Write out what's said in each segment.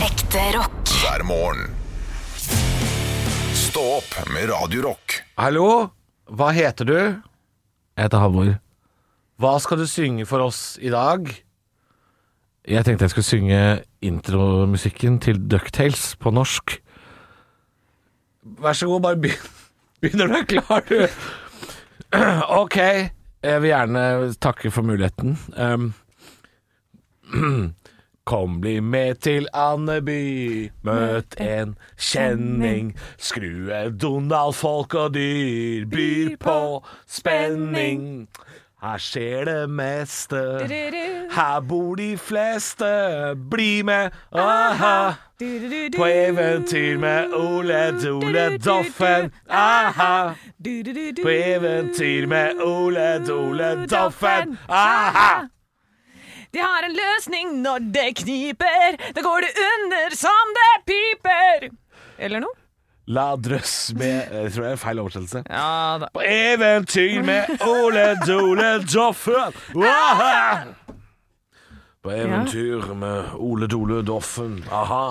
Ekte rock. hver morgen. Stå opp med Radio Rock. Hallo, hva heter du? Jeg heter Halvor. Hva skal du synge for oss i dag? Jeg tenkte jeg skulle synge intromusikken til Ducktales på norsk. Vær så god, bare begynn. Begynner du er klar, du? Ok, jeg vil gjerne takke for muligheten. Um, Kom, bli med til Andeby. Møt en kjenning. Skrue Donald, folk og dyr. Byr på spenning. Her skjer det meste. Her bor de fleste. Bli med, aha. På eventyr med Ole Dole Doffen, aha. På eventyr med Ole Dole Doffen, aha. De har en løsning når det kniper. Da går det under som det piper. Eller noe? La drøss med Jeg tror det er feil oversettelse. Ja da. På eventyr med Ole Dole Doffen. Aha! På eventyr med Ole Dole Doffen. Aha.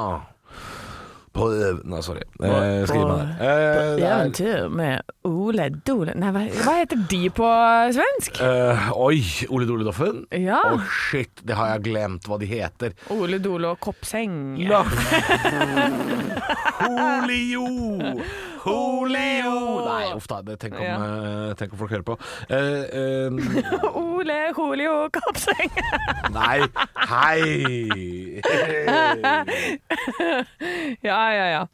På ev... Nei, sorry. Eh, skriv meg det. Eh, det er- Eventyr med Ole Dole Nei, hva, hva heter de på svensk? Eh, oi, Ole Dole Doffen? Å, Ja. shit, det har jeg glemt hva de heter. Ole Dole og Koppseng. La Holio! Holio! Nei, uff da. det- Tenk om, eh, tenk om folk hører på. Eh, eh, Ole Holio Koppseng. Nei, hei! Ja, ja, ja.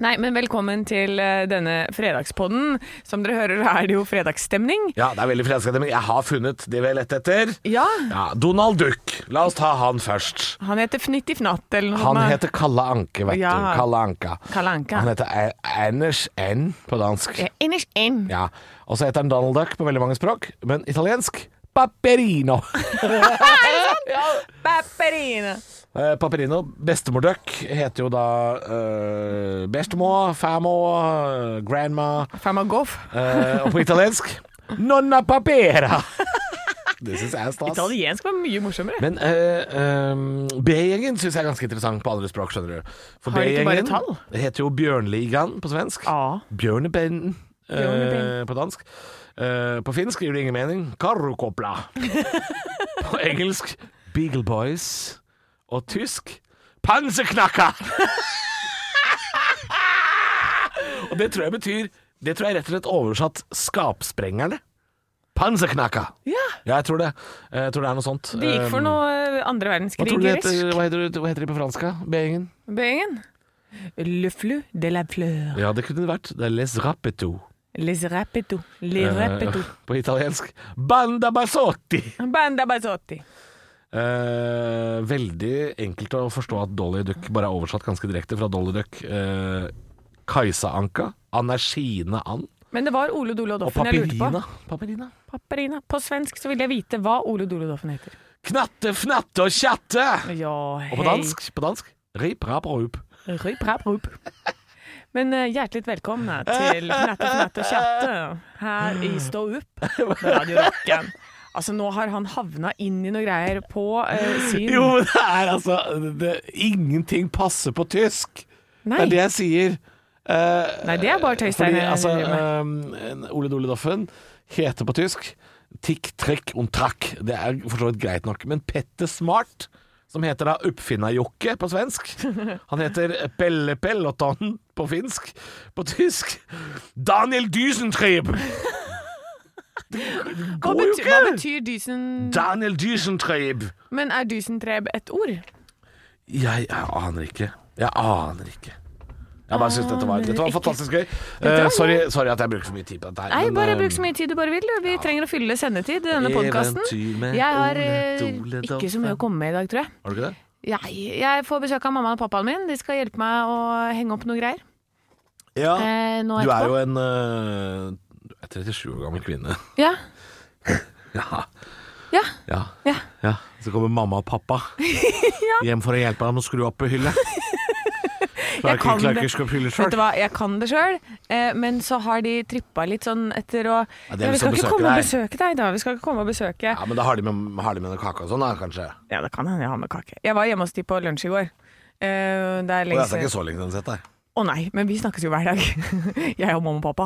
Nei, men velkommen til eh, denne fredagspodden. Som dere hører er det jo fredagsstemning. Ja, det er veldig fredagsaktig, men jeg har funnet det vi har lett etter. Ja. Ja, Donald Duck. La oss ta han først. Han heter Fnittifnatt eller noe. Han sånt. heter Kalle Anke, vet du. Ja. Kalle Anka. Kalle Anka. E- Han heter A- Anders N på dansk. Ja, Innerst inn. Ja. Og så heter han Donald Duck på veldig mange språk, men italiensk Paperino. Pepperine. Eh, Paperino, bestemor Duck, heter jo da eh, bestemor, farmor, grandma Famagoff. eh, Og på italiensk Nonna papera. Det syns jeg er stas. Italiensk var mye morsommere. Men eh, ehm, B-gjengen syns jeg er ganske interessant på andre språk, skjønner du. For Har de ikke bare B-gjengen tall? heter jo Bjørnligaen på svensk. Ja. Bjørnebenden eh, Bjørnebenden. på dansk. Eh, på finsk gir det ingen mening. Karukopla. på engelsk Beagle Boys. Og tysk Panserknakka! og det tror jeg betyr Det tror jeg rett og slett oversatt Skapsprengerne. Panserknakka. Ja. Ja, jeg tror det. Eh, Jeg tror det er noe sånt. De gikk for Um, noe eh, andre hva, verdenskrig. tror du det heter, hva, heter, hva heter de på fransk? da? B-gjengen? Bøyingen. Le flu de la fleur. Ja, det kunne det vært. Det er Les Rapeto. Les rapido. Les rapido. Eh, på italiensk. Banda Basotti! Banda bazotti. Eh, veldig enkelt å forstå at Dolly Duck bare er oversatt ganske direkte fra Dolly Duck. Eh, Kajsa Anka. Anergine And. Men det var Ole Dole og Og Doffen jeg lurte på. Papirina. Papirina. Papperina. På svensk så ville jeg vite hva Ole Dole og Doffen heter. Knatte, fnatte og tjatte! Ja, hei. Og på dansk, på dansk Rip, rap, rup. Ryp, rap, rup. Men eh, hjertelig velkomna til Knatte, knatte, kjatte her i Stå opp med Radio Rocken. Altså, nå har han havna inn i noe greier på eh, sin Jo, men det er altså det, Ingenting passer på tysk! Nei. Det er det jeg sier. Eh, Nei, det er bare tøys Fordi, der jeg altså, driver um, Ole Dole Doffen heter på tysk Tikk, trekk und trakk. Det er for så vidt greit nok. Men Petter Smart, som heter da Uppfinna-Jokke på svensk Han heter Pelle Pelloton på finsk. På tysk Daniel Dysentrieb! hva, går jo betyr, ikke. hva betyr dysen Daniel Dysentrieb! Men er dysentreb et ord? Jeg, jeg aner ikke. Jeg aner ikke. Jeg bare synes dette var, dette var Aner fantastisk gøy. var Eh, sorry, sorry at jeg bruker så mye tid på dette her. Nei, men, bare eh, bruk så mye tid du bare vil. du. Vi trenger å fylle sendetid i denne podkasten. Eventyr med Jeg har Ole eh, Dole ikke så Doffen. mye å komme med i dag, tror jeg. Har du ikke det? Jeg, jeg får besøk av mammaen og pappaen min. De skal hjelpe meg å henge opp noe greier. Ja. Eh, nå Du er etterpå. jo en eh, du er 37 år gammel kvinne. Ja. Ja. Ja. Ja. Ja. ja. Så kommer mamma og pappa hjem for å hjelpe deg med å skru opp hylle. Klarer ikke- kan klarer det. ikke å skru opp hylle Vet du sjøl. hva, jeg kan det sjøl, eh, men så har de trippa litt sånn etter å Ja, det er liksom ja, vi skal Vi skal ikke besøke komme og deg. besøke deg i dag, vi skal ikke komme og besøke Ja, men da har de med, har de med noe kake og sånn, da, kanskje? Ja, det kan hende jeg har med kake. Jeg var hjemme hos de på lunsj i går. Eh, det er Og lenge det er ikke siden Å så lenge siden jeg har sett deg. nei, men vi snakkes jo hver dag. Jeg og mamma og pappa.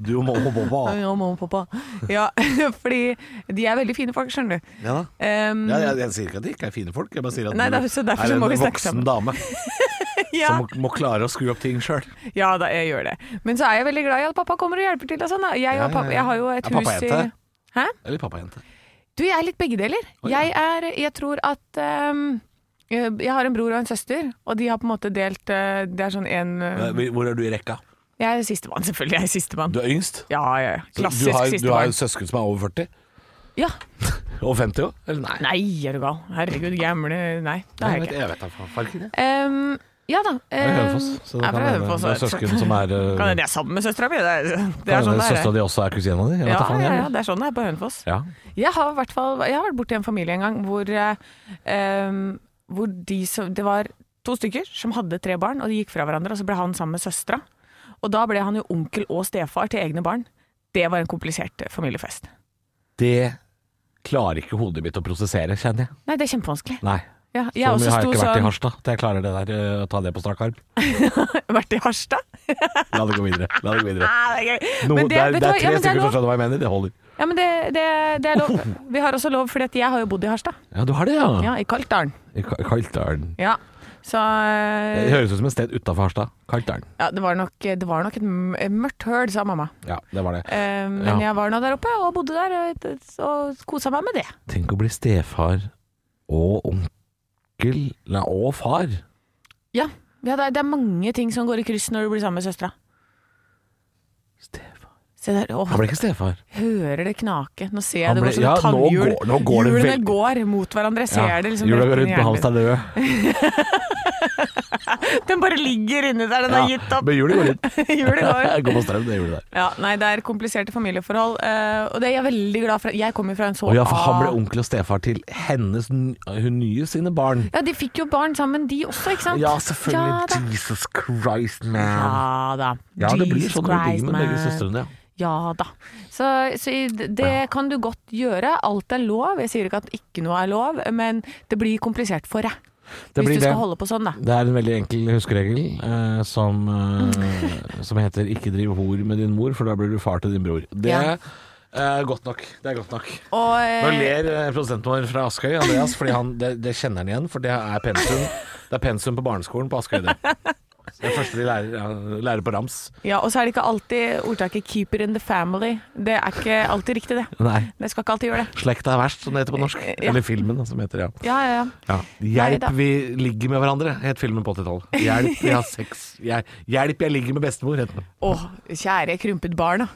Du og mamma og pappa. Jeg og mamma og pappa. Ja, fordi de er veldig fine folk, skjønner du. Ja da. Em, Ja, jeg, jeg sier ikke at de ikke er fine folk, jeg bare sier at Nei, du derfor- så derfor er så en må vi snakke voksen sammen. dame ja. som må, må klare å skru opp ting sjøl. Ja, da, jeg gjør det. Men så er jeg veldig glad i at pappa kommer og hjelper til. Og sånn, da. Jeg, Ja, og pappa, ja, ja. jeg har jo et Er pappa hus i jente? Hæ? Eller pappajente. Du, jeg er litt begge deler. Oi, ja. jeg, er, jeg tror at ehm, jeg jeg har en bror og en søster, og de har på en måte delt eh, Det er sånn en eh, Hvor er du i rekka? Jeg er sistemann, selvfølgelig. Jeg er sistemann. Du er yngst. Ja, ja, ja. Så Klassisk du har, du har sistemann. jo søsken som er over 40? Ja. Over 50 òg? Eller nei? Nei, er du gal. Herregud, gamle Nei, det har jeg jeg vet, ikke. jeg vet da faen ikke. Jeg Ehm, ja da. er fra ehm, Hønefoss, så det jeg er kan fra hende Hønefoss, det er vet du. søsken som er eh, Kan hende jeg er sammen med søstera mi. Det er, det er sånn det er. Søstera di også er kusina di? Jeg vet Ja, da faen, ja, jeg. ja, det er sånn det er på Hønefoss. Ja. Jeg har, i hvert fall, jeg har vært borti en familie en gang hvor, eh, em, hvor de som, det var to stykker som hadde tre barn, og de gikk fra hverandre, og så ble han sammen med søstera. Og da ble han jo onkel og stefar til egne barn. Det var en komplisert eh, familiefest. Det klarer ikke hodet mitt å prosessere, kjenner jeg. Nei, det er kjempevanskelig. Nei. Ja, jeg Så også mye har jeg sto ikke vært i sånn- Harstad til jeg klarer det der, øh, å ta det på strak arm. Vært i Harstad? La det gå videre. La det gå videre. Ah, det er gøy. Noe, Men det, er, det vet du er hva? tre ja, men det er stykker som lov. skjønner hva jeg mener. Det holder. Ja, men det, det, det er lov. Vi har også lov, fordi at jeg har jo bodd i Harstad. Ja, du har det, ja. Ja, I Kaltdalen. I Ka- Kaltdalen. Ja. Så Det eh, høres ut som et sted utafor Harstad. Kaltdalen. ja, det, var nok, det var nok et m- mørkt høl, sa mamma. Ja, det var det. Eh, Men Ja. jeg var nå der oppe og bodde der og, og kosa meg med det. Tenk å bli stefar og onkel Nei, og far. Ja, det, er, det er mange ting som går i kryss når du blir sammen med søstera. Stefar Se der, åh, Han ble ikke stefar. hører det knake. Nå ser jeg Han det ble- går ja, sånne nå tannhjul. går- nå går det Hjulene veldig- går mot hverandre. Jeg ser det liksom Jula rett går inn i rundt på hjernen min. Hamstad Løe. Den bare ligger inni der, den har gitt opp. Men jula går rundt. Hjulet går. Gå på strøm, det gjorde det. Ja, nei, det er kompliserte familieforhold, eh, og det er jeg veldig glad for. Jeg kommer fra en så Å ja, for han ble av- onkel og stefar til hennes n- hun nye sine barn. Ja, de fikk jo barn sammen, de også, ikke sant? Ja, selvfølgelig. Ja da. Jesus Christ, man. Ja da. Ja, det blir Jesus sånn når du Christ, ligger med begge man. søstrene. Ja. Ja da. Så, så i- det kan du godt gjøre. Alt er lov. Jeg sier ikke at ikke noe er lov, men det blir komplisert for deg. Det Hvis blir du skal det. holde på sånn, da. Det er en veldig enkel huskeregel eh, som, Mm. eh, som heter 'ikke driv hor med din mor, for da blir du far til din bror'. Det Ja. er godt nok. Det er godt nok. Og, Nå eh, ler eh, produsenten vår fra Askøy, Andreas, fordi han, det, det kjenner han igjen. For det er pensum Det er pensum på barneskolen på Askøy. Det Det er første de lærer, ja, lærer på rams. ja, og så er det ikke alltid ordtaket 'keeper in the family'. Det er ikke alltid riktig, det. Nei. Det skal ikke alltid gjøre det. Slekta er verst, som det heter på norsk. Eh, Ja. Eller filmen, da, som heter det. Ja. Ja, ja, ja. Ja. Nei Hjelp, da. vi ligger med hverandre, het filmen på 80-tallet. Hjelp, vi har sex. Hjel- Hjelp, jeg ligger med bestemor. het den. Å, kjære krympet barn, da.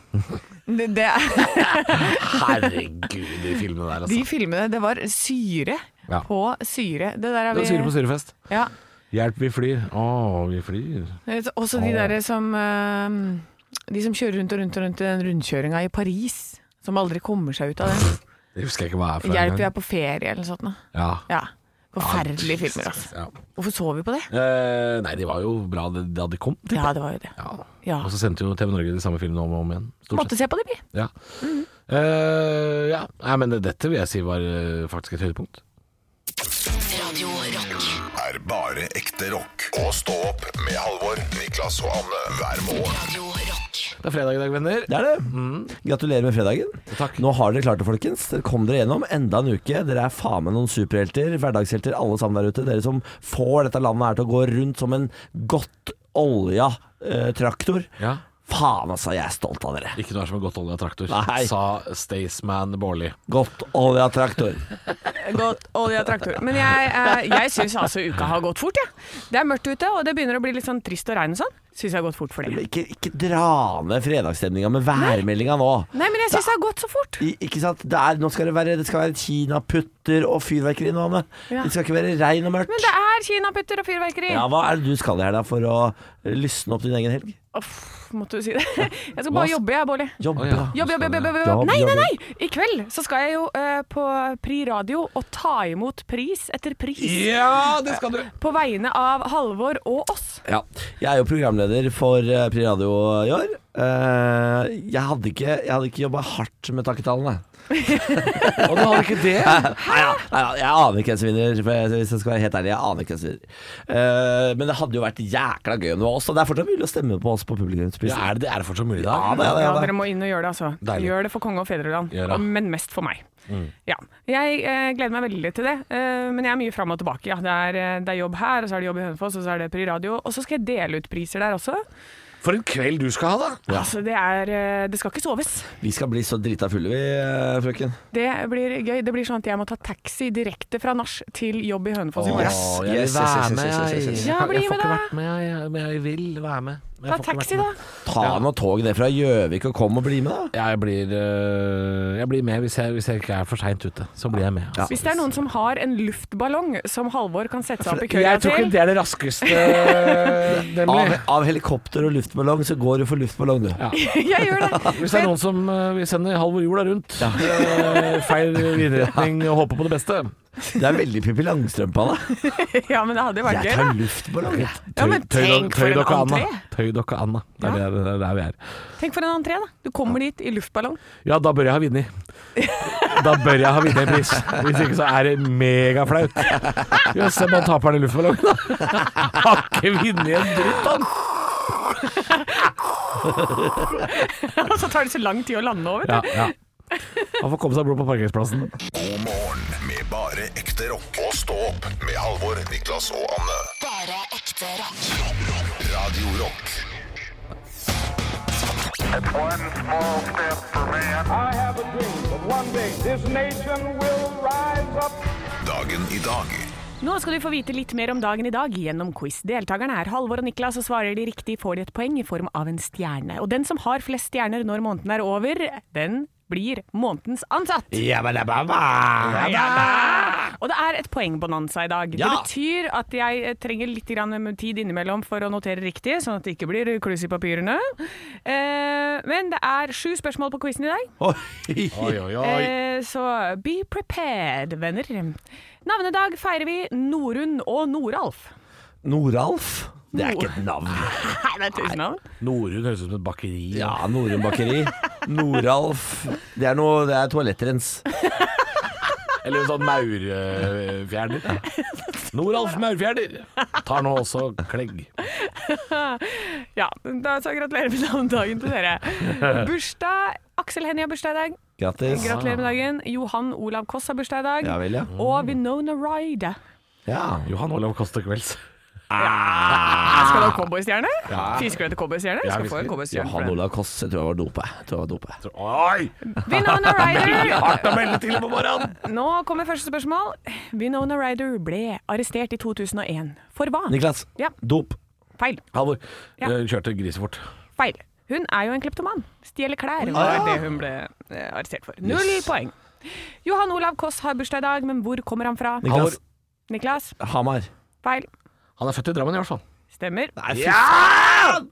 Det, det, Altså. er- Herregud, de filmene der, altså. de filmene, det var syre Ja. på syre. Det der er Det var syre på vi syrefest. ja. Hjelp, vi flyr. Å, vi flyr. Eh, Også de derre som eh, De som kjører rundt og rundt og rundt i den rundkjøringa i Paris. Som aldri kommer seg ut av den. Det husker jeg ikke hva er for Hjelp, vi er på ferie eller noe sånt. nå. Ja. Ja. Forferdelige filmer, altså. Ja. Hvorfor så vi på det? Eh, nei, de var jo bra det- da de kom. Ja, det var jo det. Ja. Ja. Og så sendte jo TV Norge de samme filmene om og om igjen. Stort Måtte sett. se på det, vi. Ja. Eh, ja. Nei, men dette vil jeg si var eh, faktisk et høydepunkt. Er bare ekte rock. Og stå opp med Halvor, Niklas og Anne hver morgen. Det er fredag i dag, venner. Det er det. Gratulerer med fredagen. Mm. Takk. Nå har dere klart det, folkens. Dere kom dere gjennom enda en uke. Dere er faen meg noen superhelter, hverdagshelter alle sammen der ute. Dere som får dette landet her til å gå rundt som en godt olja eh, traktor. Ja. Faen, altså. Jeg er stolt av dere. Ikke noe er som en godt olja traktor, Nei. sa Staysman Baarli. Godt olja traktor. Godt oljetraktor. Men jeg, eh, jeg syns altså uka har gått fort, jeg. Det er mørkt ute, og det begynner å bli litt sånn trist og regn og sånn. Syns jeg har gått fort for det. Ikke, ikke dra ned fredagsstemninga med værmeldinga nå. Nei, men jeg syns det har gått så fort. I, ikke sant? Det, er, nå skal det, være, det skal være kinaputter og fyrverkeri nå, Anne. Ja. Det skal ikke være regn og mørkt. Men det er kinaputter og fyrverkeri. Ja, Hva er det du skal i her da for å lysne opp din egen helg? Uff, måtte du si det. Jeg skal Hva? bare jobbe, jeg, Bolli. Jobbe, Å, ja. da. Jobb, jobb, jobb, jobb, jobb, jobb. Jobb, Nei, jobb, nei, nei! I kveld så skal jeg jo eh, på Pri Radio og ta imot pris etter pris. Ja, det skal du! På vegne av Halvor og oss. Ja. Jeg er jo programleder for eh, Pri Radio i år. Eh, jeg hadde ikke, jeg hadde ikke jobba hardt med takketallene. Og du hadde ikke det? Nei, ja, nei, ja, jeg aner ikke hvem som vinner, for jeg- hvis jeg skal være helt ærlig. Jeg aner ikke hvem som vinner. Eh, men det hadde jo vært jækla gøy om det var oss, og det er fortsatt mulig å stemme på oss på publikumsprisen. Ja, er det, det er det fortsatt mulig i dag? Ja, det er det, Ja, ja, det. dere må inn og gjøre det, altså. Deilig. Gjør det for konge og fedreland, Gjør det. Mm. og- men mest for meg. Ja. Jeg eh, gleder meg veldig til det, eh, men jeg er mye fram og tilbake. Ja. Det, er, eh, det er jobb her, og så er det jobb i Hønefoss, og så er det Pri Radio. Og så skal jeg dele ut priser der også. For en kveld du skal ha, da! Altså, det, er, eh, det skal ikke soves. Vi skal bli så drita fulle vi, eh, frøken. Det blir gøy. Det blir sånn at jeg må ta taxi direkte fra nach til jobb i Hønefoss i morgen. Yes, jeg vil yes, yes, være yes, yes, med, yes, yes, yes. jeg. Ja, bli Jeg får ikke med da. vært med, jeg, men jeg vil være med. Men jeg Ta får ikke taxi, vært da. med. Ta nå tog ned fra Gjøvik og kom og bli med, da. Jeg blir, øh, jeg blir med hvis jeg, hvis jeg ikke er for seint ute. Så blir jeg med. altså. Hvis det er noen som har en luftballong som Halvor kan sette seg opp i køya Jeg tror ikke til det er det raskeste, nemlig. Av, av helikopter og luftballong så går du for luftballong, du. Jeg gjør det. Hvis det er noen som øh, vil sende Halvor jorda rundt, øh, feil vindretning og håper på det beste. Det er veldig Pippi Langstrømpe av deg. Ja, men det hadde jo vært gøy, Jeg da. tar luftballong. jeg. Ja, men Tøy- tenk tøy for en dere, Anna. entré. Tøy dere, Anna. Det er der, det er der vi er. Tenk for en entré, da. Du kommer dit i luftballong. Ja, da bør jeg ha vunnet. Da bør jeg ha vunnet en pris. Hvis ikke så er det megaflaut. Jøss, jeg bare taper den i luftballongen, da. Har ikke vunnet en dritt, han. Og så tar det så lang tid å lande over. Ja, ja. Han får komme seg bort på parkeringsplassen. God morgen med bare ekte rock. Og stå opp med Halvor, Niklas og Anne. Bare ekte rock. Radio Rock One small step for man. I have a dream that one day this nation will rise up. dagen i dag. Nå skal du få vite litt mer om dagen i dag gjennom quiz. Deltakerne er Halvor og Niklas, og svarer de riktig får de et poeng i form av en stjerne. Og den som har flest stjerner når måneden er over, den blir månedens ansatt. Og det er et poengbonanza i dag. Det Ja. betyr at jeg eh, trenger litt grann med tid innimellom for å notere riktig, sånn at det ikke blir kluss i papirene. Eh, men det er sju spørsmål på quizen i dag. Oi. Eh, så be prepared, venner. Navnedag feirer vi Norunn og Noralf. Noralf? Det er ikke et navn. Nei, det er tusen navn. Norun høres ut som et bakeri. Ja, Norum bakeri. Noralf. Det er, noe, det er toalettrens. Eller en sånn maurfjerner. Noralf Maurfjerner tar nå også klegg. Ja, da så gratulerer med navnedagen til dere. Bursdag. Aksel Hennie har bursdag i dag. Grattis. Gratulerer med dagen. Johan Olav Koss har bursdag i dag. Ah. Ja vel, ja. Og Winona Ryde. Ja. Johan Olav Koste Kvelds. Jeg skal du ha cowboystjerne? Fisker du etter cowboystjerne? Ja, Jeg skal få visst. en cowboystjerne. for Han det. Olav Koss, jeg tror jeg var dopa. Jeg tror jeg var dopa. Oi! Winona Ryder. Hardt å melde til på morgenen. Nå kommer første spørsmål. Winona Ryder ble arrestert i 2001. For hva? Niklas. Ja. Dop. Feil. Halvor, Ja. eh, kjørte grisefort. Feil. Hun er jo en kleptoman. Stjeler klær, var det hun ble eh, arrestert for. Null poeng. Johan Olav Koss har bursdag i dag, men hvor kommer han fra? Niklas. Niklas. Hamar. Feil. Han er født i Drammen i hvert fall. Stemmer. Nei, fy faen!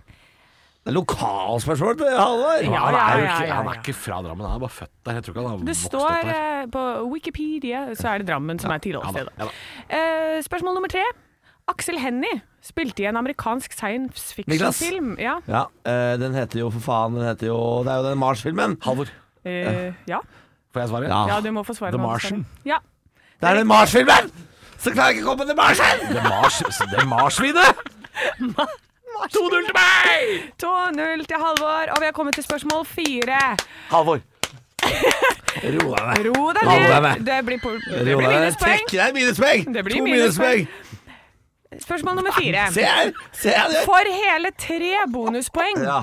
Det er lokalspørsmål, det, Halvor. Ja, han, er jo ja, ikke, ja, han ja. er ikke fra Drammen, han er bare født der. Jeg tror ikke han har Det vokst står opp der. eh, på Wikipedia, så er det Drammen som er Ja tilholdsstedet. da, ja da. Eh, spørsmål nummer tre. Axel Hennie spilte i en amerikansk science Niklas. fiction-film. Ja. Ja, eh, den heter jo for faen Den heter jo Det er jo den Mars-filmen. Halvor, eh, ja. får jeg svare? Ja. ja, du må få svare. The på hva du Martian. svarer. Ja. Det er den Mars-filmen! Så klarer jeg ikke å komme til Marsen! Det er Mars, det er marsvinet! 2-0 til meg! 2-0 til Halvor, og vi har kommet til spørsmål fire. Halvor. Ro deg ned. Ro deg Halvor er ned. med. Det blir, po- det Ro blir deg ned. minuspoeng. Trekk deg minuspoeng. Det blir to minuspoeng. minuspoeng. Spørsmål nummer Ah, Se fire. her. Se her. det- For hele tre bonuspoeng Ja.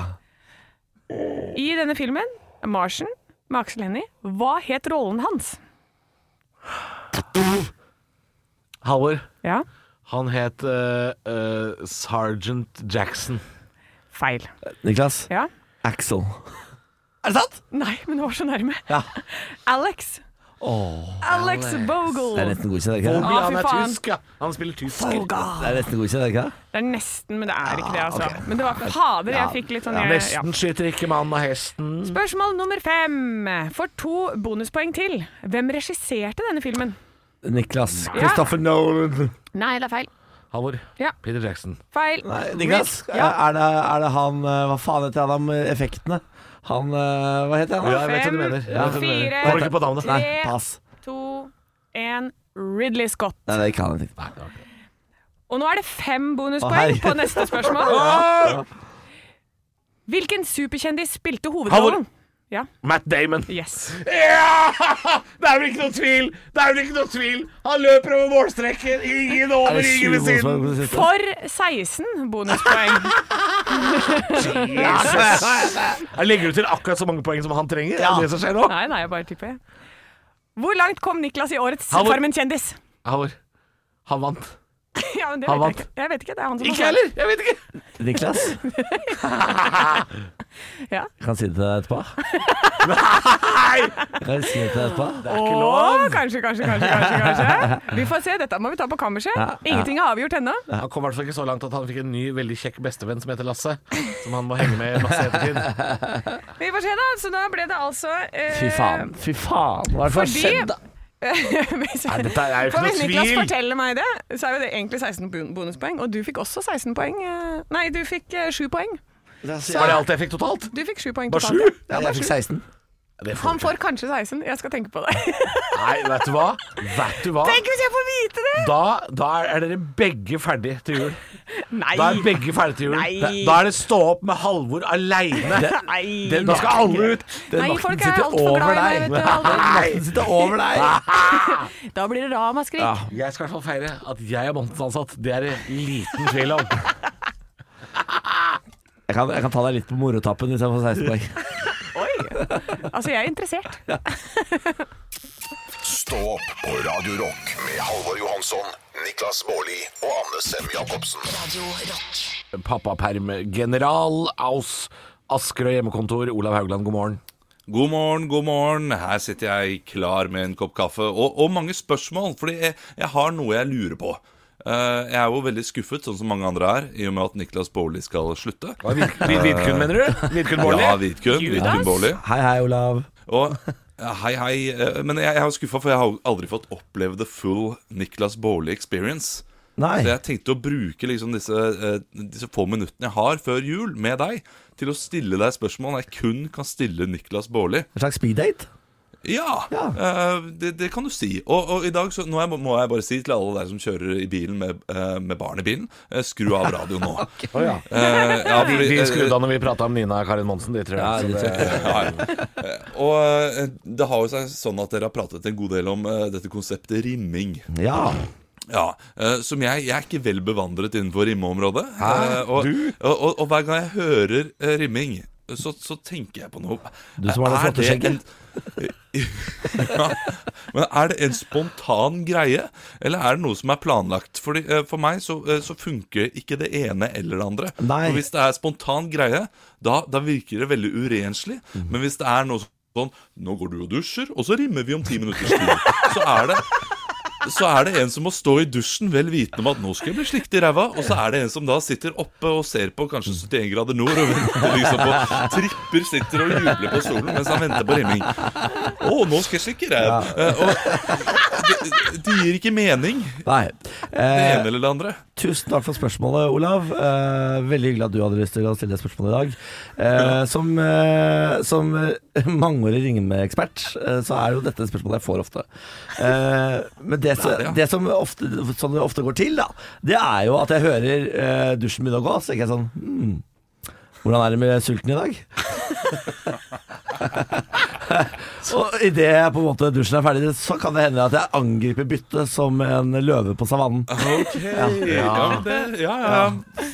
i denne filmen, Martian med Axel Hennie, hva het rollen hans? Halvor, Ja, han het eh, eh, Sergeant Jackson. feil. Niklas. Ja. Axel. Er det sant? Nei, men det var så nærme. Ja. Alex. Alex, Bogle. Det er nesten godkjent, er det ikke det? Å, fy han er faen. tysk, ja. Han spiller tysk. Det er nesten godkjent, er det ikke det? Det er nesten, men det er ikke det, altså. Men det var fader, jeg fikk litt sånn Ja, jeg- ja. nesten skyter ikke mannen av hesten. Spørsmål nummer fem. For to bonuspoeng til. Hvem regisserte denne filmen? Niklas. Christopher Nolan. Nei, det er feil. Halvor. Ja. Peter Jackson. Feil. Nei, Niklas, Ja. er, det, er det han eh, Hva faen heter han om effektene? Han eh, Hva heter han? da? Ja, jeg vet hva du mener. Jeg vet hva du mener. Fire, Kommer ikke på navnet. tre, Nei, pass. to, én. Ridley Scott. Nei, det kan jeg ikke. Og nå er det fem Å, bonuspoeng herregud. på neste spørsmål. Hvilken superkjendis spilte hovedrollen? Ja. Matt Damon. Yes. Ja! Det er vel ikke noe tvil! Det er vel ikke noe tvil! Han løper over målstreken. Ingen over, ingen ved siden. For 16 bonuspoeng. Jeg legger du til akkurat så mange poeng som han trenger? Er det det som skjer nå? Nei, nei, jeg bare tipper. Hvor langt kom Niklas i årets Han var- Farmen kjendis? Halvor. Han vant. Ja, men det Han vet jeg, vant. ikke. jeg vet ikke. Det er han som har Ikke svart. heller! Jeg vet ikke. Niklas? Ja. Kan jeg si det til deg etterpå? Nei! Kan jeg si det til deg etterpå? Åh, kanskje, kanskje, kanskje, kanskje, kanskje. Vi får se. Dette må vi ta på kammerset. Ingenting er avgjort ennå. Han kom i hvert fall ikke så langt at han fikk en ny veldig kjekk bestevenn som heter Lasse. Som han må henge med masse ettertid. Vi får se, da. Så da ble det altså eh, Fy faen. Fy faen. Hva er det som har Fordi- skjedd, da? hvis- Nei, dette er jo ikke For hvis noe Niklas tvil. forteller meg det, så er jo det egentlig 16 bon- bonuspoeng. Og du fikk også 16 poeng. eh, Nei, du fikk eh, 7 poeng. Var det alt jeg fikk totalt? Du fikk 7 poeng Bare totalt. sju? ja. Ja, jeg fikk 16. Det får Han du ikke. får kanskje 16. Jeg skal tenke på det. Nei, vet du hva? Vet du hva? Tenk hvis jeg får vite det! Da, da er dere begge ferdig til jul. Nei. Da er begge ferdig til jul. Nei. Da er det stå opp med Halvor aleine. Nei. Da skal alle ut. Den Nei, makten folk er sitter altfor over glad i meg, deg. vet du. Halvor. Makten sitter over deg. Da blir det ramaskrik. Jeg skal i hvert fall feire at jeg er månedsansatt. Det er det liten tvil om. Jeg kan, jeg kan ta deg litt på morotappen hvis jeg får 16 poeng. Altså, jeg er interessert. Stå opp på Radio Rock med Halvor Johansson, Niklas Baarli og Anne Sem Jacobsen. Pappaperm-general Aus Asker og hjemmekontor. Olav Haugland, god morgen. God morgen, god morgen. Her sitter jeg klar med en kopp kaffe. Og, og mange spørsmål, fordi jeg, jeg har noe jeg lurer på. Eh, jeg er jo veldig skuffet, sånn som mange andre er, i og med at Niklas Baarli skal slutte. Vidkun, mener du? Vidkun Bårdli? Ja, Vidkun. Vidkun Baarli. Hei, hei, Olav. Og eh, hei, hei. eh, Men jeg, jeg er jo skuffa, for jeg har jo aldri fått oppleve the full Niklas Baarli experience. Nei. Så jeg tenkte å bruke liksom disse, eh, disse få minuttene jeg har før jul med deg, til å stille deg spørsmål jeg kun kan stille Niklas Baarli. En slags speeddate? Ja, eh, det, det kan du si. Og, og i dag så, nå er- må jeg bare si til alle dere som kjører i bilen med, eh, med barn i bilen, eh, skru av radioen nå. Å, ja. Eh, ja, Vi, fordi, vi eh, skrudde av når vi prata om Nina Karin Monsen, de tror jeg. Så det- ja, ja. Eh, Og eh, det har jo seg sånn at dere har pratet en god del om eh, dette konseptet rimming. Ja. Ja, eh, som jeg, jeg er ikke vel bevandret innenfor rimmeområdet. Eh, og, Du? Og, og, og hver gang jeg hører eh, rimming, så, så tenker jeg på noe. Du som har det flotte Er en- ja, men er det en spontan greie, eller er det noe som er planlagt? Fordi, eh, for meg så, eh, så funker ikke det ene eller det andre. Nei. For hvis det er spontan greie, da, da virker det veldig urenslig. Men hvis det er noe sånn Nå går du og dusjer, og så rimmer vi om ti minutters tid. Så er det så er det en som må stå i dusjen vel vitende om at nå skal jeg bli slikt i ræva, og så er det en som da sitter oppe og ser på kanskje 71 grader nord og venter liksom på Tripper sitter og jubler på stolen mens han venter på rimming. Å, nå skal jeg slikke ræv. Eh, og det, det gir ikke mening, Nei. det Eh, ene eller det andre. Tusen takk for spørsmålet, Olav. Eh, veldig hyggelig at du hadde lyst til å stille det spørsmålet i dag. Eh, som eh, som eh, mangeårig ringmeekspert, eh, så er jo dette spørsmålet jeg får ofte. Eh, men det, så, det, ja. det som ofte, sånn det ofte går til, da, det er jo at jeg hører eh, dusjen begynne å gå, så tenker jeg sånn hmm, Hvordan er det med sulten i dag? Og idet jeg på en måte dusjen er ferdig, så kan det hende at jeg angriper byttet som en løve på savannen. Ok, ja, men det, ja, ja.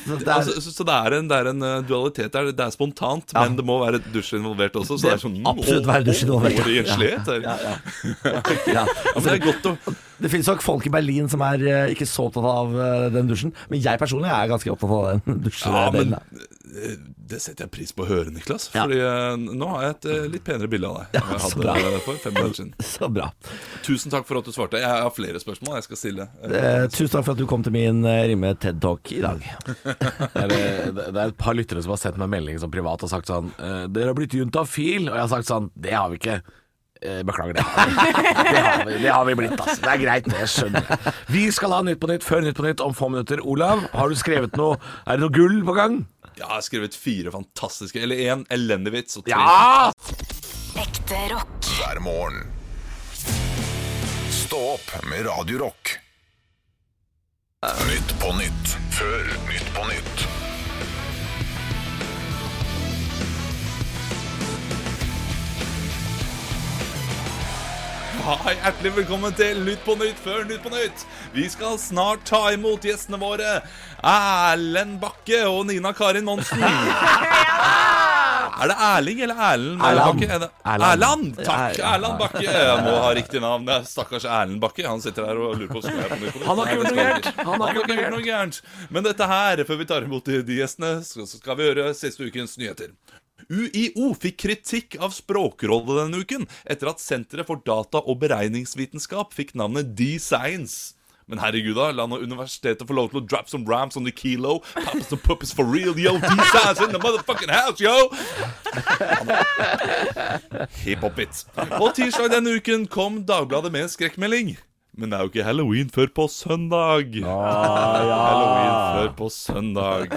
Så det er- Altså, så, så det er en, det er en eh, dualitet der. Det er spontant, men det må være dusj involvert også. Så det, er sånn absolutt være dusj involvert, ja. Å, å, renslighet her. ja. Ja, men det er godt å Det finnes nok folk i Berlin som er eh, ikke så opptatt av eh, den dusjen, men jeg personlig er ganske opptatt av den dusjen. Ja, men delen, eh, det setter jeg pris på å høre, Niklas. Ja. Fordi eh, nå har jeg et eh, litt penere bilde av deg enn Ja, så jeg bra. hadde eh, for fem minutter siden. da. Så bra. Tusen takk for at du svarte. Jeg har flere spørsmål jeg skal stille. Eh, Eh, tusen takk for at du kom til min eh, rimme TED-talk i dag. Det er, Eh, det er et par lyttere som sånn, har sendt meg melding som privat og sagt sånn eh, 'Dere har blitt juntafil', og jeg har sagt sånn 'Det har vi ikke'. Eh, Beklager, det har vi, det har vi, det har vi blitt. Altså. Det er greit, det. Jeg skjønner. Vi skal ha Nytt på Nytt før Nytt på Nytt om få minutter. Olav, har du skrevet noe? Er det noe gull på gang? Jeg har skrevet fire fantastiske Eller én elendig vits og tre Ja! Ekte rock. hver morgen. Stå opp med Radio Rock. Nytt på nytt før Nytt på nytt. Hei, hjertelig velkommen til Nytt på Nytt før Nytt på Nytt. Vi skal snart ta imot gjestene våre Erlend Bakke og Nina Karin Monsen. Er det Erling eller Erlend Erland. Bakke? Er det- Erland. Erland! Takk! Erland Bakke. Jeg må ha riktig navn. Det er stakkars Erlend Bakke. Han sitter her og lurer på skal jeg på Nytt på Nytt. Han har ikke gjort noe Nei, det skal gærent. jeg ikke. Han har ikke Han har ikke gjort noe gærent. Men dette her, før vi tar imot de de gjestene, så så skal vi gjøre siste ukens nyheter. UiO fikk kritikk av Språkrådet denne uken etter at Senteret for data og beregningsvitenskap fikk navnet D-Science. Men herregud, da, la nå universitetet få lov til å drop some rams on the kilo. Paps and puppies for real, yo. D-Science in the motherfucking house, yo! Hiphop-bits. På tirsdag denne uken kom Dagbladet med en skrekkmelding. Men det er jo ikke halloween før på søndag. Halloween før på søndag.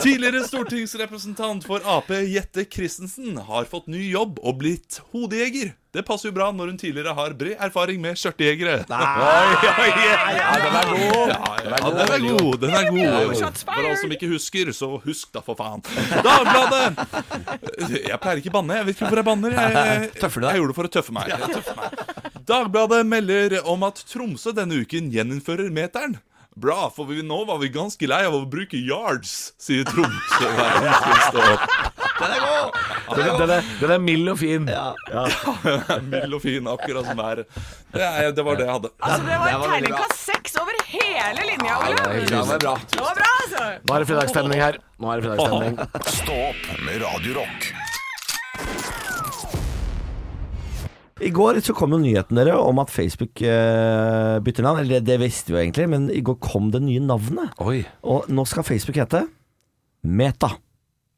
Tidligere stortingsrepresentant for Ap Jette Christensen har fått ny jobb og blitt hodejeger. Det passer jo bra når hun tidligere har bred erfaring med skjørtejegere. Den er god! Ja, den er god. Den er god. For alle som ikke husker, så husk da, for faen. Dagbladet jeg pleier ikke å banne. Jeg vet ikke hvorfor jeg banner. Jeg, jeg, Tøffer du deg? jeg gjorde det for å tøffe meg. Jeg tøffer meg. Dagbladet melder om at Tromsø denne uken gjeninnfører meteren. Bra, for vi nå var vi ganske lei av å bruke yards, sier Tromsø. Den, den, er, den er mild og fin. Mild og fin, akkurat som været. Det, er- det var det jeg hadde. Altså, det var var veldig bra. terningkast seks over hele linja, Olav. Ja, det er bra. Det var bra, altså. Nå er det fredagsstemning her. Nå er det fredagsstemning. Stå opp med Radio Rock. I går så kom jo nyheten dere om at Facebook eh, bytter navn. Eller det, det visste vi jo egentlig, men i går kom det nye navnet. Oi. Og nå skal Facebook hete Meta.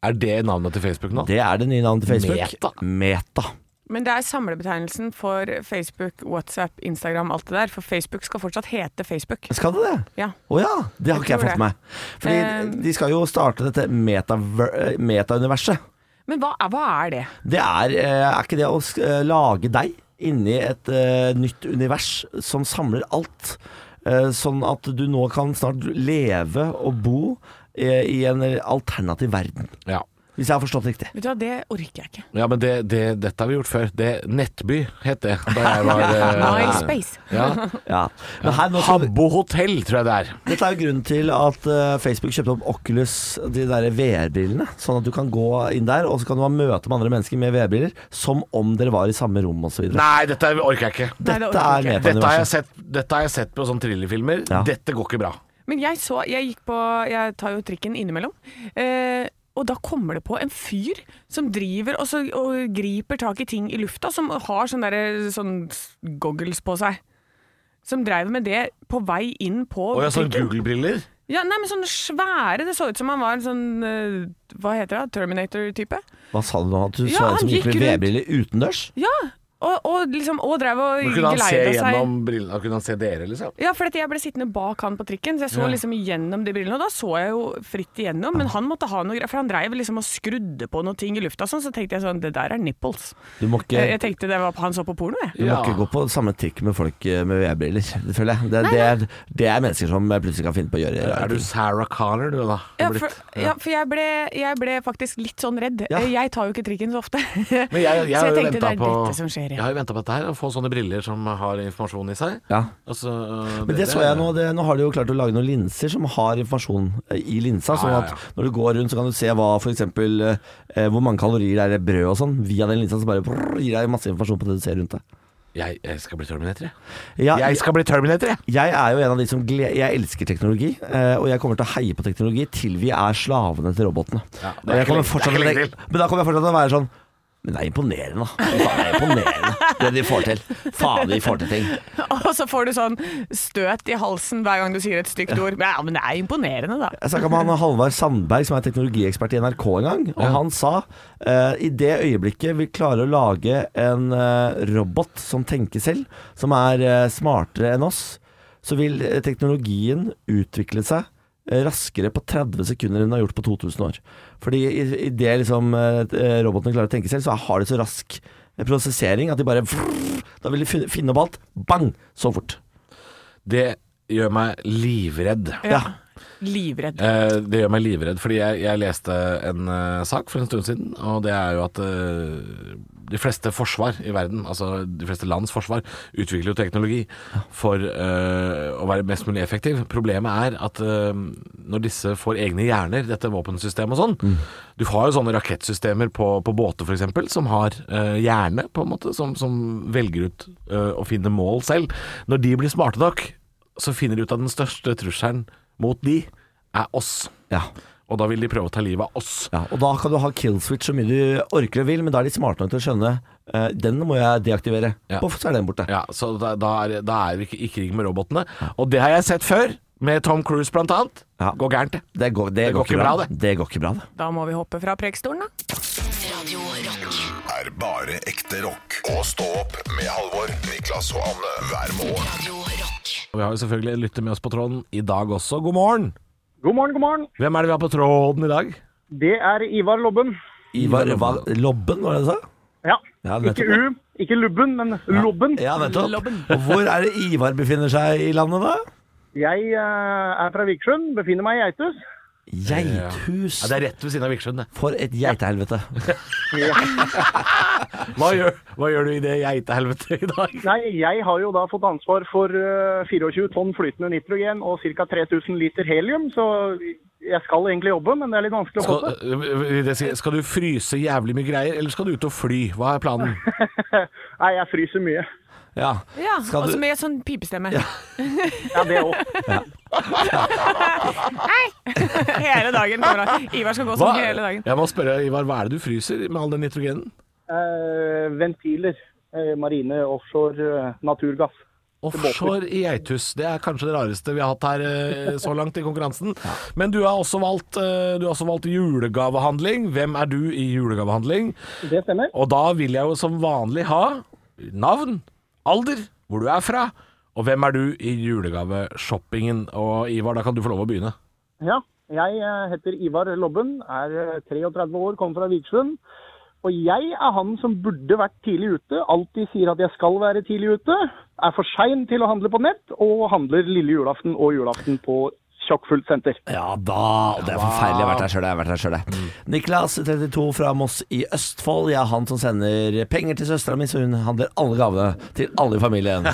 Er det navnet til Facebook nå? Det er det nye navnet til Meta. Facebook. Meta. Men det er samlebetegnelsen for Facebook, WhatsApp, Instagram, alt det der. For Facebook skal fortsatt hete Facebook. Skal det det? Ja. Å ja, det har Jeg ikke jeg tror fått det. med meg. Fordi Eh, de skal jo starte dette metaver- eh, metauniverset. Men hva er, hva er det? Det er, eh, er ikke det å sk- eh, lage deg inni et eh, nytt univers som samler alt. Eh, sånn at du nå kan snart leve og bo eh, i en alternativ verden. Ja. Hvis jeg har forstått det riktig. Vet du hva, det orker jeg ikke. Ja, men det, det, dette har vi gjort før. Det, Nettby het det da jeg var eh, MySpace. ja. Ja. Men her nå skal, Habbo hotell, tror jeg det er. dette er jo grunnen til at eh, Facebook kjøpte opp Oculus, de der VR-brillene. Sånn at du kan gå inn der, og så kan du ha møte med andre mennesker med VR-briller. Som om dere var i samme rom osv. Nei, dette orker jeg ikke. Nei, det Dette orker er Dette har jeg ikke. jeg metauniverset. sett, dette har jeg sett på sånne thrillerfilmer. Ja. Dette går ikke bra. Men jeg så Jeg gikk på Jeg tar jo trikken innimellom. Eh, og da kommer det på en fyr som driver og, så, og griper tak i ting i lufta, som har sånne, der, sånn s- goggles på seg. Som dreiv med det på vei inn på Og jeg har sånne trikken. Google-briller. Ja, nei, men sånne svære Det så ut som han var en sånn eh, Hva heter det? Terminator-type? Hva sa du nå? At du Ja, så han en som gikk gikk med rundt. VR-briller utendørs? Ja! Og, og liksom Og drev og Men Kunne han se geleida seg. gjennom brillene? Kunne han se dere, liksom? Ja, for at jeg ble sittende bak han på trikken, så jeg så Ja. liksom gjennom de brillene. Og da så jeg jo fritt igjennom, men han måtte ha noe greier, for han dreiv liksom og skrudde på noen ting i lufta og sånn, så tenkte jeg sånn Det der er nipples. Du må ikke Jeg, jeg tenkte det var han så på porno, jeg. Du må Ja. ikke gå på samme trikk med folk eh, med VR-briller, det føler jeg. Det, det, er, det er mennesker som plutselig kan finne på å gjøre Er rare du ting. Sarah Connor, du, da? Ja, Blitt- for, ja, for jeg, ble, jeg ble faktisk litt sånn redd. Ja. Jeg tar jo ikke trikken så ofte. Men jeg, jeg, så har jeg jo tenkte det ventet er på, dette som skjer. Jeg Ja. har jo venta på dette her, å få sånne briller som har informasjon i seg. Ja. Altså, Men det så jeg nå. Det, nå har de jo klart å lage noen linser som har informasjon eh, i linsa. Sånn ja, at når du går rundt, så kan du se hva f.eks. Eh, hvor mange kalorier det er i brød og sånn. Via den linsa som bare brrr, gir deg masse informasjon på det du ser rundt deg. Jeg, jeg skal bli Terminator, jeg. Ja, Jeg skal bli Terminator, jeg. Jeg er jo en av de som gled, Jeg elsker teknologi, eh, og jeg kommer til å heie på teknologi til vi er slavene til robotene. Ja, det er Og jeg ikke kommer lenge- fortsatt det er ikke til å lenge tenke- Men da kommer jeg fortsatt til å være sånn Men det er imponerende, da. Fy faen, Det er imponerende det de får til. Faen, de får til ting. Og så får du sånn støt i halsen hver gang du sier et stygt ord. Ja, men det er imponerende, da. Jeg snakka med han Halvard Sandberg, som er teknologiekspert i NRK en gang, og han sa eh, i det øyeblikket vi klarer å lage en eh, robot som tenker selv, som er eh, smartere enn oss, så vil eh, teknologien utvikle seg eh, raskere på 30 sekunder enn den har gjort på 2000 år. Fordi i, i det liksom eh, eh, robotene klarer å tenke selv, så har de så rask eh, prosessering at de bare vrrr, Da vil de finne, finne opp alt. Bang! Så fort. Det gjør meg livredd. Ja. Livredd. Eh, det gjør meg livredd, fordi jeg, jeg leste en eh, sak for en stund siden, og det er jo at eh, de fleste forsvar i verden, altså de fleste lands forsvar, utvikler jo teknologi for eh, å være mest mulig effektiv. Problemet er at eh, når disse får egne hjerner, dette våpensystemet og sånn, du har jo sånne rakettsystemer på, på båter f.eks., som har eh, hjerne, på en måte, som, som velger ut eh, å finne mål selv. Når de blir smarte nok, så finner de ut at den største trusselen mot de er oss. ja. Og da vil de prøve å ta livet av oss. Ja, og da kan du ha kill switch så mye du orker og vil, men da er de smarte nok til å skjønne eh, Den må jeg deaktivere. Ja. Poff, så er den borte. Ja, så da, da, er, da er vi ikke i krig med robotene. Og det har jeg sett før, med Tom Cruise blant annet. Ja. Går gærent, det. Det går, det går ikke bra, det. Det går ikke bra, det. Da må vi hoppe fra prekestolen, da. Radio Rock. er bare ekte rock. Og stå opp med Halvor, Niklas og Anne hver morgen. Radio Rock. Og vi har jo selvfølgelig en lytter med oss på tråden i dag også. God morgen! God morgen, god morgen. Hvem er det vi har på tråden i dag? Det er Ivar Lobben. Ivar hva, Lobben, var det du sa? Ja, Ja, ikke nettopp. U, ikke Lubben, men Lobben. Ja, nettopp. Lobben. Og hvor er det Ivar befinner seg i landet, da? Jeg eh, er fra Vikersund, befinner meg i Geithus. Geithus. Ja, det er rett ved siden av Vikersund, det. For et geitehelvete. Hva gjør, hva gjør du i det geitehelvetet i dag? Nei, jeg har jo da fått ansvar for eh, 24 tonn flytende nitrogen og ca. 3000 liter helium, så jeg skal egentlig jobbe, men det er litt vanskelig å få Skal, til. øh, det sier- skal du fryse jævlig mye greier, eller skal du ut og fly? Hva er planen? Nei, jeg fryser mye. Ja. Ja, Skal og du- så med sånn pipestemme. Ja, det òg. Hele dagen. kommer han. Ivar skal gå Hva, sånn hele dagen. jeg må spørre, Ivar, hva er det du fryser med all den nitrogenen? Eh, ventiler. Eh, marine, offshore, eh, naturgass. Offshore i Geithus, det er kanskje det rareste vi har hatt her eh, så langt i konkurransen. Men du har også valgt, eh, du har også valgt julegavehandling. Hvem er du i julegavehandling? Det stemmer. Og da vil jeg jo som vanlig ha navn, alder, hvor du er fra, og hvem er du i julegaveshoppingen. Og Ivar, da kan du få lov å begynne. Ja, jeg eh, heter Ivar Lobben, er eh, 33 år, kommer fra Vikersund. Og jeg er han som burde vært tidlig ute, alltid sier at jeg skal være tidlig ute. Er for sein til å handle på nett, og handler lille julaften og julaften på tjokkfullt senter. Ja da. og Det er forferdelig. Jeg har vært der sjøl, jeg. har vært der selv, jeg. Niklas, 32, fra Moss i Østfold. Jeg er han som sender penger til søstera mi, så hun handler alle gavene til alle i familien.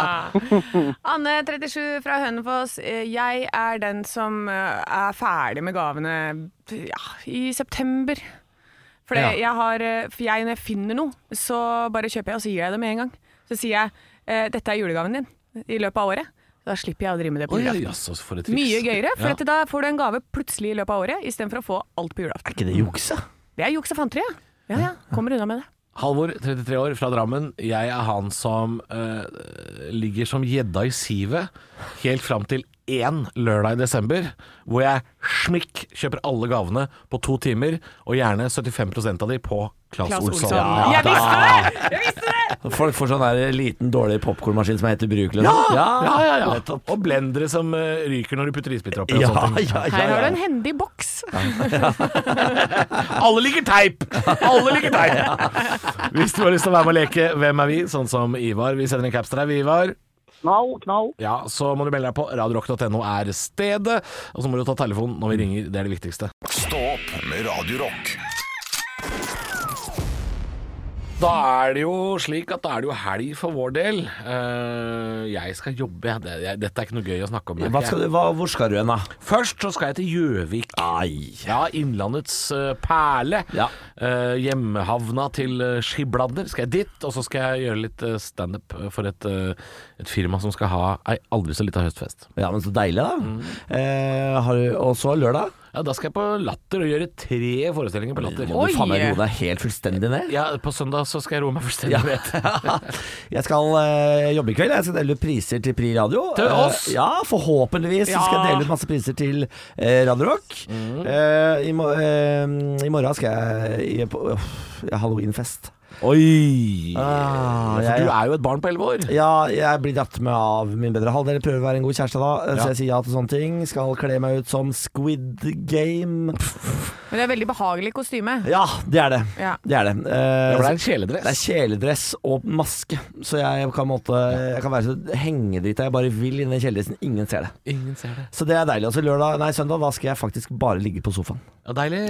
Anne 37 fra Hønefoss. Eh, Jeg er den som eh, er ferdig med gavene ja, i september. For det- jeg har eh, For jeg, når jeg finner noe, så bare kjøper jeg, og så gir jeg det med en gang. Så sier jeg eh, 'dette er julegaven din' i løpet av året. Da slipper jeg å drive med det på Oi, julaften. jaså, for et triks. Mye gøyere, for Ja. at da får du en gave plutselig i løpet av året istedenfor å få alt på julaften. Er ikke det jukse? Det er juks og fanteri, ja. Ja, ja. Kommer unna med det. Halvor, 33 år, fra Drammen. Jeg er han som eh, ligger som gjedda i sivet helt fram til én lørdag i desember, hvor jeg smikk kjøper alle gavene på to timer, og gjerne 75 av de på Claes Claes Olsson. Olsson. Ja, jeg visste det! Jeg visste det! Folk får sånn der liten, dårlig popkornmaskin som er helt ubrukelig. ja, sånn. ja, ja, ja, nettopp. Og blendere som eh, ryker når du putter isbiter oppi. og Ja, sånne ting. ja, ja, Her har du ja. en hendig boks. Alle liker teip! Alle liker teip! Hvis du har lyst til å være med og leke Hvem er vi? sånn som Ivar. Vi sender en caps til deg, vi, Ivar. Knall, knall. Ja, så må du melde deg på. Radiorock.no er stedet. Og så må du ta telefonen Mm. når vi ringer. Det er det viktigste. Stå opp med Radio Rock. Da er det jo slik at da er det jo helg for vår del. Eh, jeg skal jobbe. jeg. Det, jeg, dette er ikke noe gøy å snakke om. merker Hva skal du, hva, hvor skal du hen, da? jeg. Først så skal jeg til Gjøvik. Ai. Ja, Innlandets eh, perle. Ja. Eh, hjemmehavna til eh, Skibladner skal jeg dit. Og så skal jeg gjøre litt eh, standup for et, eh, et firma som skal ha ei aldri så lita høstfest. Mm. Ja, men Så deilig, da. Eh, har du, og så lørdag? Ja, da skal jeg på Latter og gjøre tre forestillinger på Latter. Må Oi. du faen meg roe deg helt fullstendig ned? Ja, på søndag så skal jeg roe meg fullstendig Ja. ned. Jeg skal eh, jobbe i kveld. Jeg skal dele ut priser til Pri Radio. Til Eh, oss? ja, forhåpentligvis. Så skal jeg Ja. dele ut masse priser til eh, Radio Rock. Eh, i, mo- eh, I morgen skal jeg i- på uff, jeg har halloweenfest. Oi! Ah, For jeg- du er jo et barn på elleve år. Ja, jeg blir dratt med av min bedre halvdel. Prøver å være en god kjæreste da, eh, Ja. så jeg sier ja til sånne ting. Skal kle meg ut som Squid Game. Men det er veldig behagelig kostyme. Ja, det er det. Ja. Det er det. Eh, Ja, for det er en Det kjeledress. er kjeledress og maske, så jeg kan, måtte, jeg kan være så hengedrita jeg bare vil inni den kjeledressen. Ingen ser det. Ingen ser det. Så det er deilig. Og så lørdag, nei, søndag, da skal jeg faktisk bare ligge på sofaen. Ja, deilig.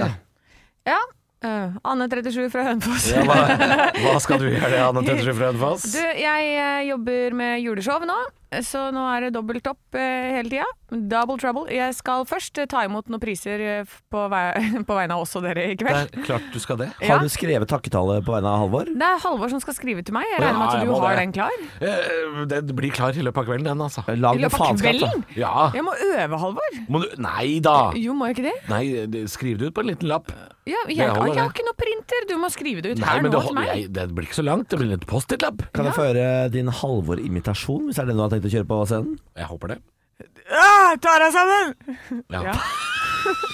Ja. eh, Anne 37 fra Hønefoss. Ja, hva, hva skal du gjøre, Anne Tettersjø fra Hønefoss? Du, jeg eh, jobber med juleshow nå, så nå er det dobbelt opp eh, hele tida. Double trouble. Jeg skal først eh, ta imot noen priser eh, f- på, vei, på vegne av oss og dere i Det kveld. er klart du skal det. Ja. Har du skrevet takketallet på vegne av Halvor? Det er Halvor som skal skrive til meg. Jeg regner med Ja, at jeg du må har det. den klar. Eh, Den blir klar i løpet av kvelden, den, altså. Lag I noe løpet av faenskap, da. kvelden. Ja. Jeg må øve, Halvor. Må du Nei da! Jo, må jeg ikke det? Nei, det- skriv det ut på en liten lapp. Ja, jeg, Det jeg, holder, har det. ikke noe printer. Du må skrive det ut Nei, her men det, nå hold- til meg. jeg, det blir ikke så langt. Det blir en liten Post-It-lapp. Kan jeg få høre din Halvor-imitasjon, hvis det er den du har tenkt å kjøre på scenen? Jeg håper det. Ah, ta deg sammen! Ja. Ja.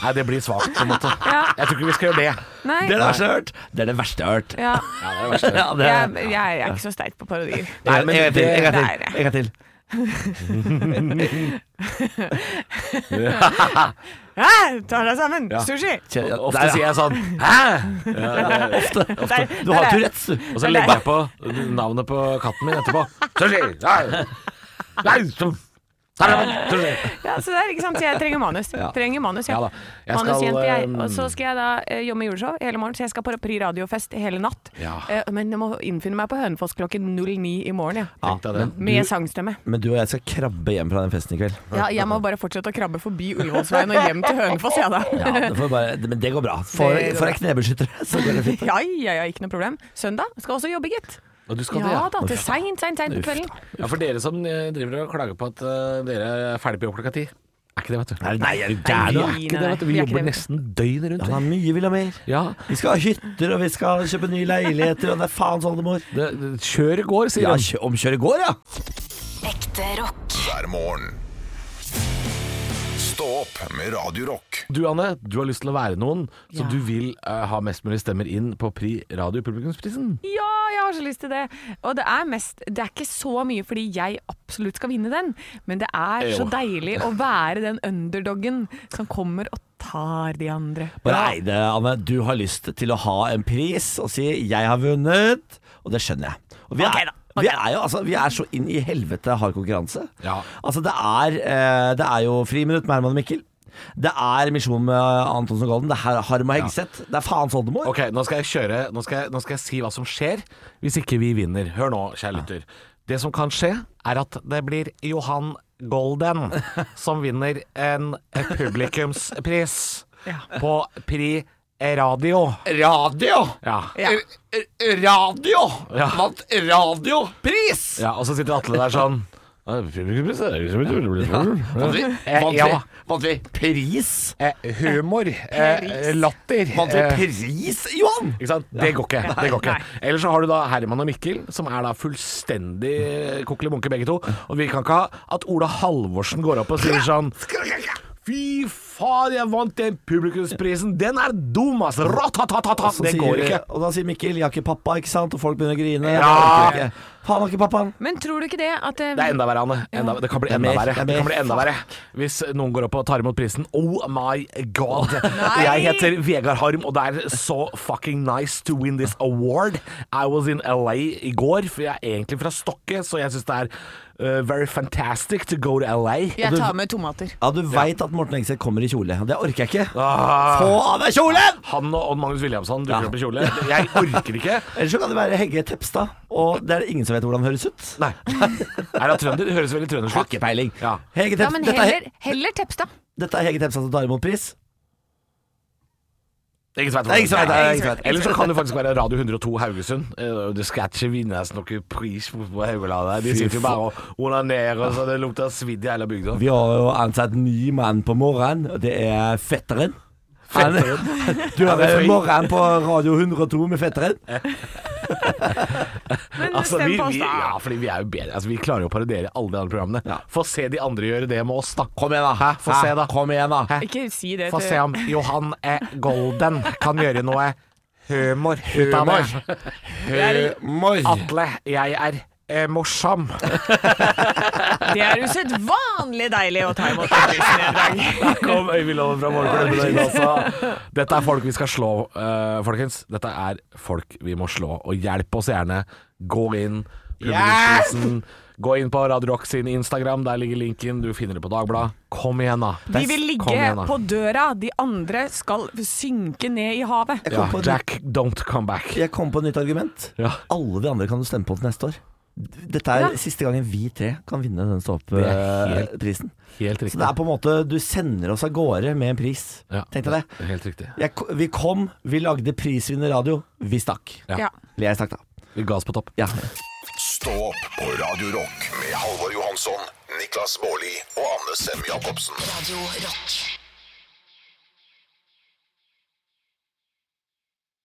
Nei, det blir svakt, på en måte. Ja. Jeg tror ikke vi skal gjøre det. Nei. Det er det verste jeg har hørt! Det er det verste jeg har hørt. Ja. Ja, det er det verste. Ja, det Jeg, jeg, jeg er ikke så sterk på parodier. Nei, men En gang til, en gang det er til. det. En gang til. Hæ, ta deg sammen! Sushi! Kjør- ja, Ofte der, ja. sier jeg sånn Hæ? Ja, det- Der- Du der har er- Tourettes, du. Og så legger jeg på navnet på katten min etterpå. Sushi! Nei! Nei! så- Nei, sushi. Ja, så der, ikke sant? Så Jeg trenger manus. Trenger manus, ja. Ja da. Jeg skal, Manusjente jeg. ehm, Og så skal jeg da eh, jobbe med juleshow hele morgen, så jeg skal på Pri radiofest hele natt. Ja. Eh, men jeg må innfinne meg på Hønefoss klokken 09 i morgen, ja. Tenk deg det. Med sangstemme. Men du og jeg skal krabbe hjem fra den festen i kveld. Ja, jeg må bare fortsette å krabbe forbi Ullevålsveien og hjem til Hønefoss, jeg ja, da. Ja, det får bare, men det går bra. Får Det går får jeg knebeskyttere, så går det fint. Ja, ja, ja, ikke noe problem. Søndag skal også jobbe, gitt. Og du skal det, Ja da, til seint, seint, seint på kvelden. Ja, for dere som eh, driver og klager på at eh, dere er ferdig på jobb klokka ti. Er ikke det, vet du. Nei, nei, er du Nei, vi- gæren? da? er ikke det, vet du. vi Vi er ikke jobber det. nesten døgnet rundt. Han har mye, vil ha mer. Ja, Vi skal ha hytter, og vi skal kjøpe nye leiligheter, og det er faens oldemor. det, det, kjør i går, sier Ja, han. kjø- omkjøre går, ja. Ekte rock. hver morgen. Stå opp med Radio Rock. Du Anne, du har lyst til å være noen, så du vil eh, ha mest mulig stemmer inn på Pri Radio Publikumsprisen. Ja, jeg har så lyst til det. Og det er mest Det er ikke så mye fordi jeg absolutt skal vinne den, men det er så Jo. deilig å være den underdoggen som kommer og tar de andre. Bare Eide, Anne, du har lyst til å ha en pris og si 'jeg har vunnet', og det skjønner jeg. Og vi, er, Ok da, ok vi da. er jo altså, vi er så inn i helvete hard konkurranse. Ja. Altså, det er, eh, det er jo Friminutt med Herman og Mikkel. Det er Misjon med Antonsen og Golden. Det er Harm og Hegseth. Det er faens oldemor. Ok, nå skal jeg kjøre nå skal jeg, nå skal jeg si hva som skjer hvis ikke vi vinner. Hør nå, kjære lytter. Det som kan skje, er at det blir Johan Golden som vinner en publikumspris på Pri Radio. Radio! Ja. Radio! Ja. Vant radiopris! ja, og så sitter Atle der sånn Publikumspris er jo som et julebord. Eh, Ja. pris? Eh, Humor. eh, Latter. eh, pris, Johan? Ikke sant? Det går ikke. det går ikke Eller så har du da Herman og Mikkel, som er da fullstendig kokkeli bunke begge to. Og vi kan ikke ha at Ola Halvorsen går opp og sier sånn Fy faen, jeg vant den publikumsprisen! Den er dum, ass! Ratatatata! Det går ikke. Og da sier Mikkel 'jeg har ikke pappa', ikke sant? Og folk begynner å grine. Ja. Jeg orker ikke. Faen, har ikke pappaen. Men tror du ikke det at eh, Det er enda verre, Anne. Enda, det kan bli Det er enda verre. mer, det er Det kan mer. bli enda verre Hvis noen går opp og tar imot prisen. Oh my god. Jeg heter Vegard Harm, og det er så fucking nice to win this award. I was in LA i går, for jeg er egentlig fra Stokke, så jeg syns det er uh, very fantastic to go to LA. Jeg tar med tomater. Ja, du veit at Morten Engseth kommer i kjole. Det orker jeg ikke. Ah, Få av deg kjolen! han og Odd Magnus Williamson dukker Ja. opp i kjole. Jeg orker ikke. Ellers så kan det være Hegge Tepstad, og det er det ingen som vet hvordan han høres ut. Nei. Er det trønder? Det høres veldig trøndersk Har ut. ikke peiling. Ja. Hege Ja, Tep- men dette, er, heller, heller Tepstad. dette er Hege Tepstad som tar imot pris. Det er ingen som vet Det er ingen som vet det, det er ingen som vet Nei. Eller så kan det faktisk være Radio 102 Haugesund. Eh, Det skal ikke vinnes noen pris på på Haugeland. der. De Fy sitter jo bare og onanerer, så det lukter svidd i hele bygda. Vi har jo ansatt ny mann på morgenen, og det er fetteren. Han- Du hører morgenen på Radio 102 med fetteren. Men Altså, stem vi, på oss, vi, da. ja, fordi vi er jo bedre. Altså, vi klarer jo å parodiere alle de andre programmene. Få se de andre gjøre det med oss, da. Kom igjen, da. Hæ? Få Hæ? se, da. Kom igjen, da. Hæ? Ikke si det Få til- se om Johan eh, Golden kan gjøre noe humor ut av det. Atle, jeg er eh, morsom. Det er usedvanlig deilig å ta imot den prisen i dag. Der kom Øyvind Loven fra Morgenklubben. og altså. Dette er folk vi skal slå, eh, folkens. Dette er folk vi må slå. Og hjelp oss gjerne. Gå inn. Publikumsprisen. Gå inn på Radio Rock sin Instagram, der ligger linken. Du finner det på Dagbladet. Kom igjen, da. De vil Kom ligge igjen, da. på døra, de andre skal synke ned i havet. Jeg kom, på Ja, et nytt, Jack, don't come back. jeg kom på et nytt argument. Ja. Alle de andre kan du stemme på til neste år. Dette er siste gangen vi tre kan vinne den er helt- stå-opp-prisen. Helt Så riktig. det er på en måte Du sender oss av gårde med en pris. Ja. Tenkte jeg det. Helt riktig. Jeg, ko- vi kom, vi lagde prisvinnerradio. Vi stakk. Ja. Ja. Eller jeg stakk, da. Vi ga oss på topp. Ja. Stå opp på Radio Rock med Halvor Johansson, Niklas Baarli og Anne Sem Jacobsen. Radio Rock.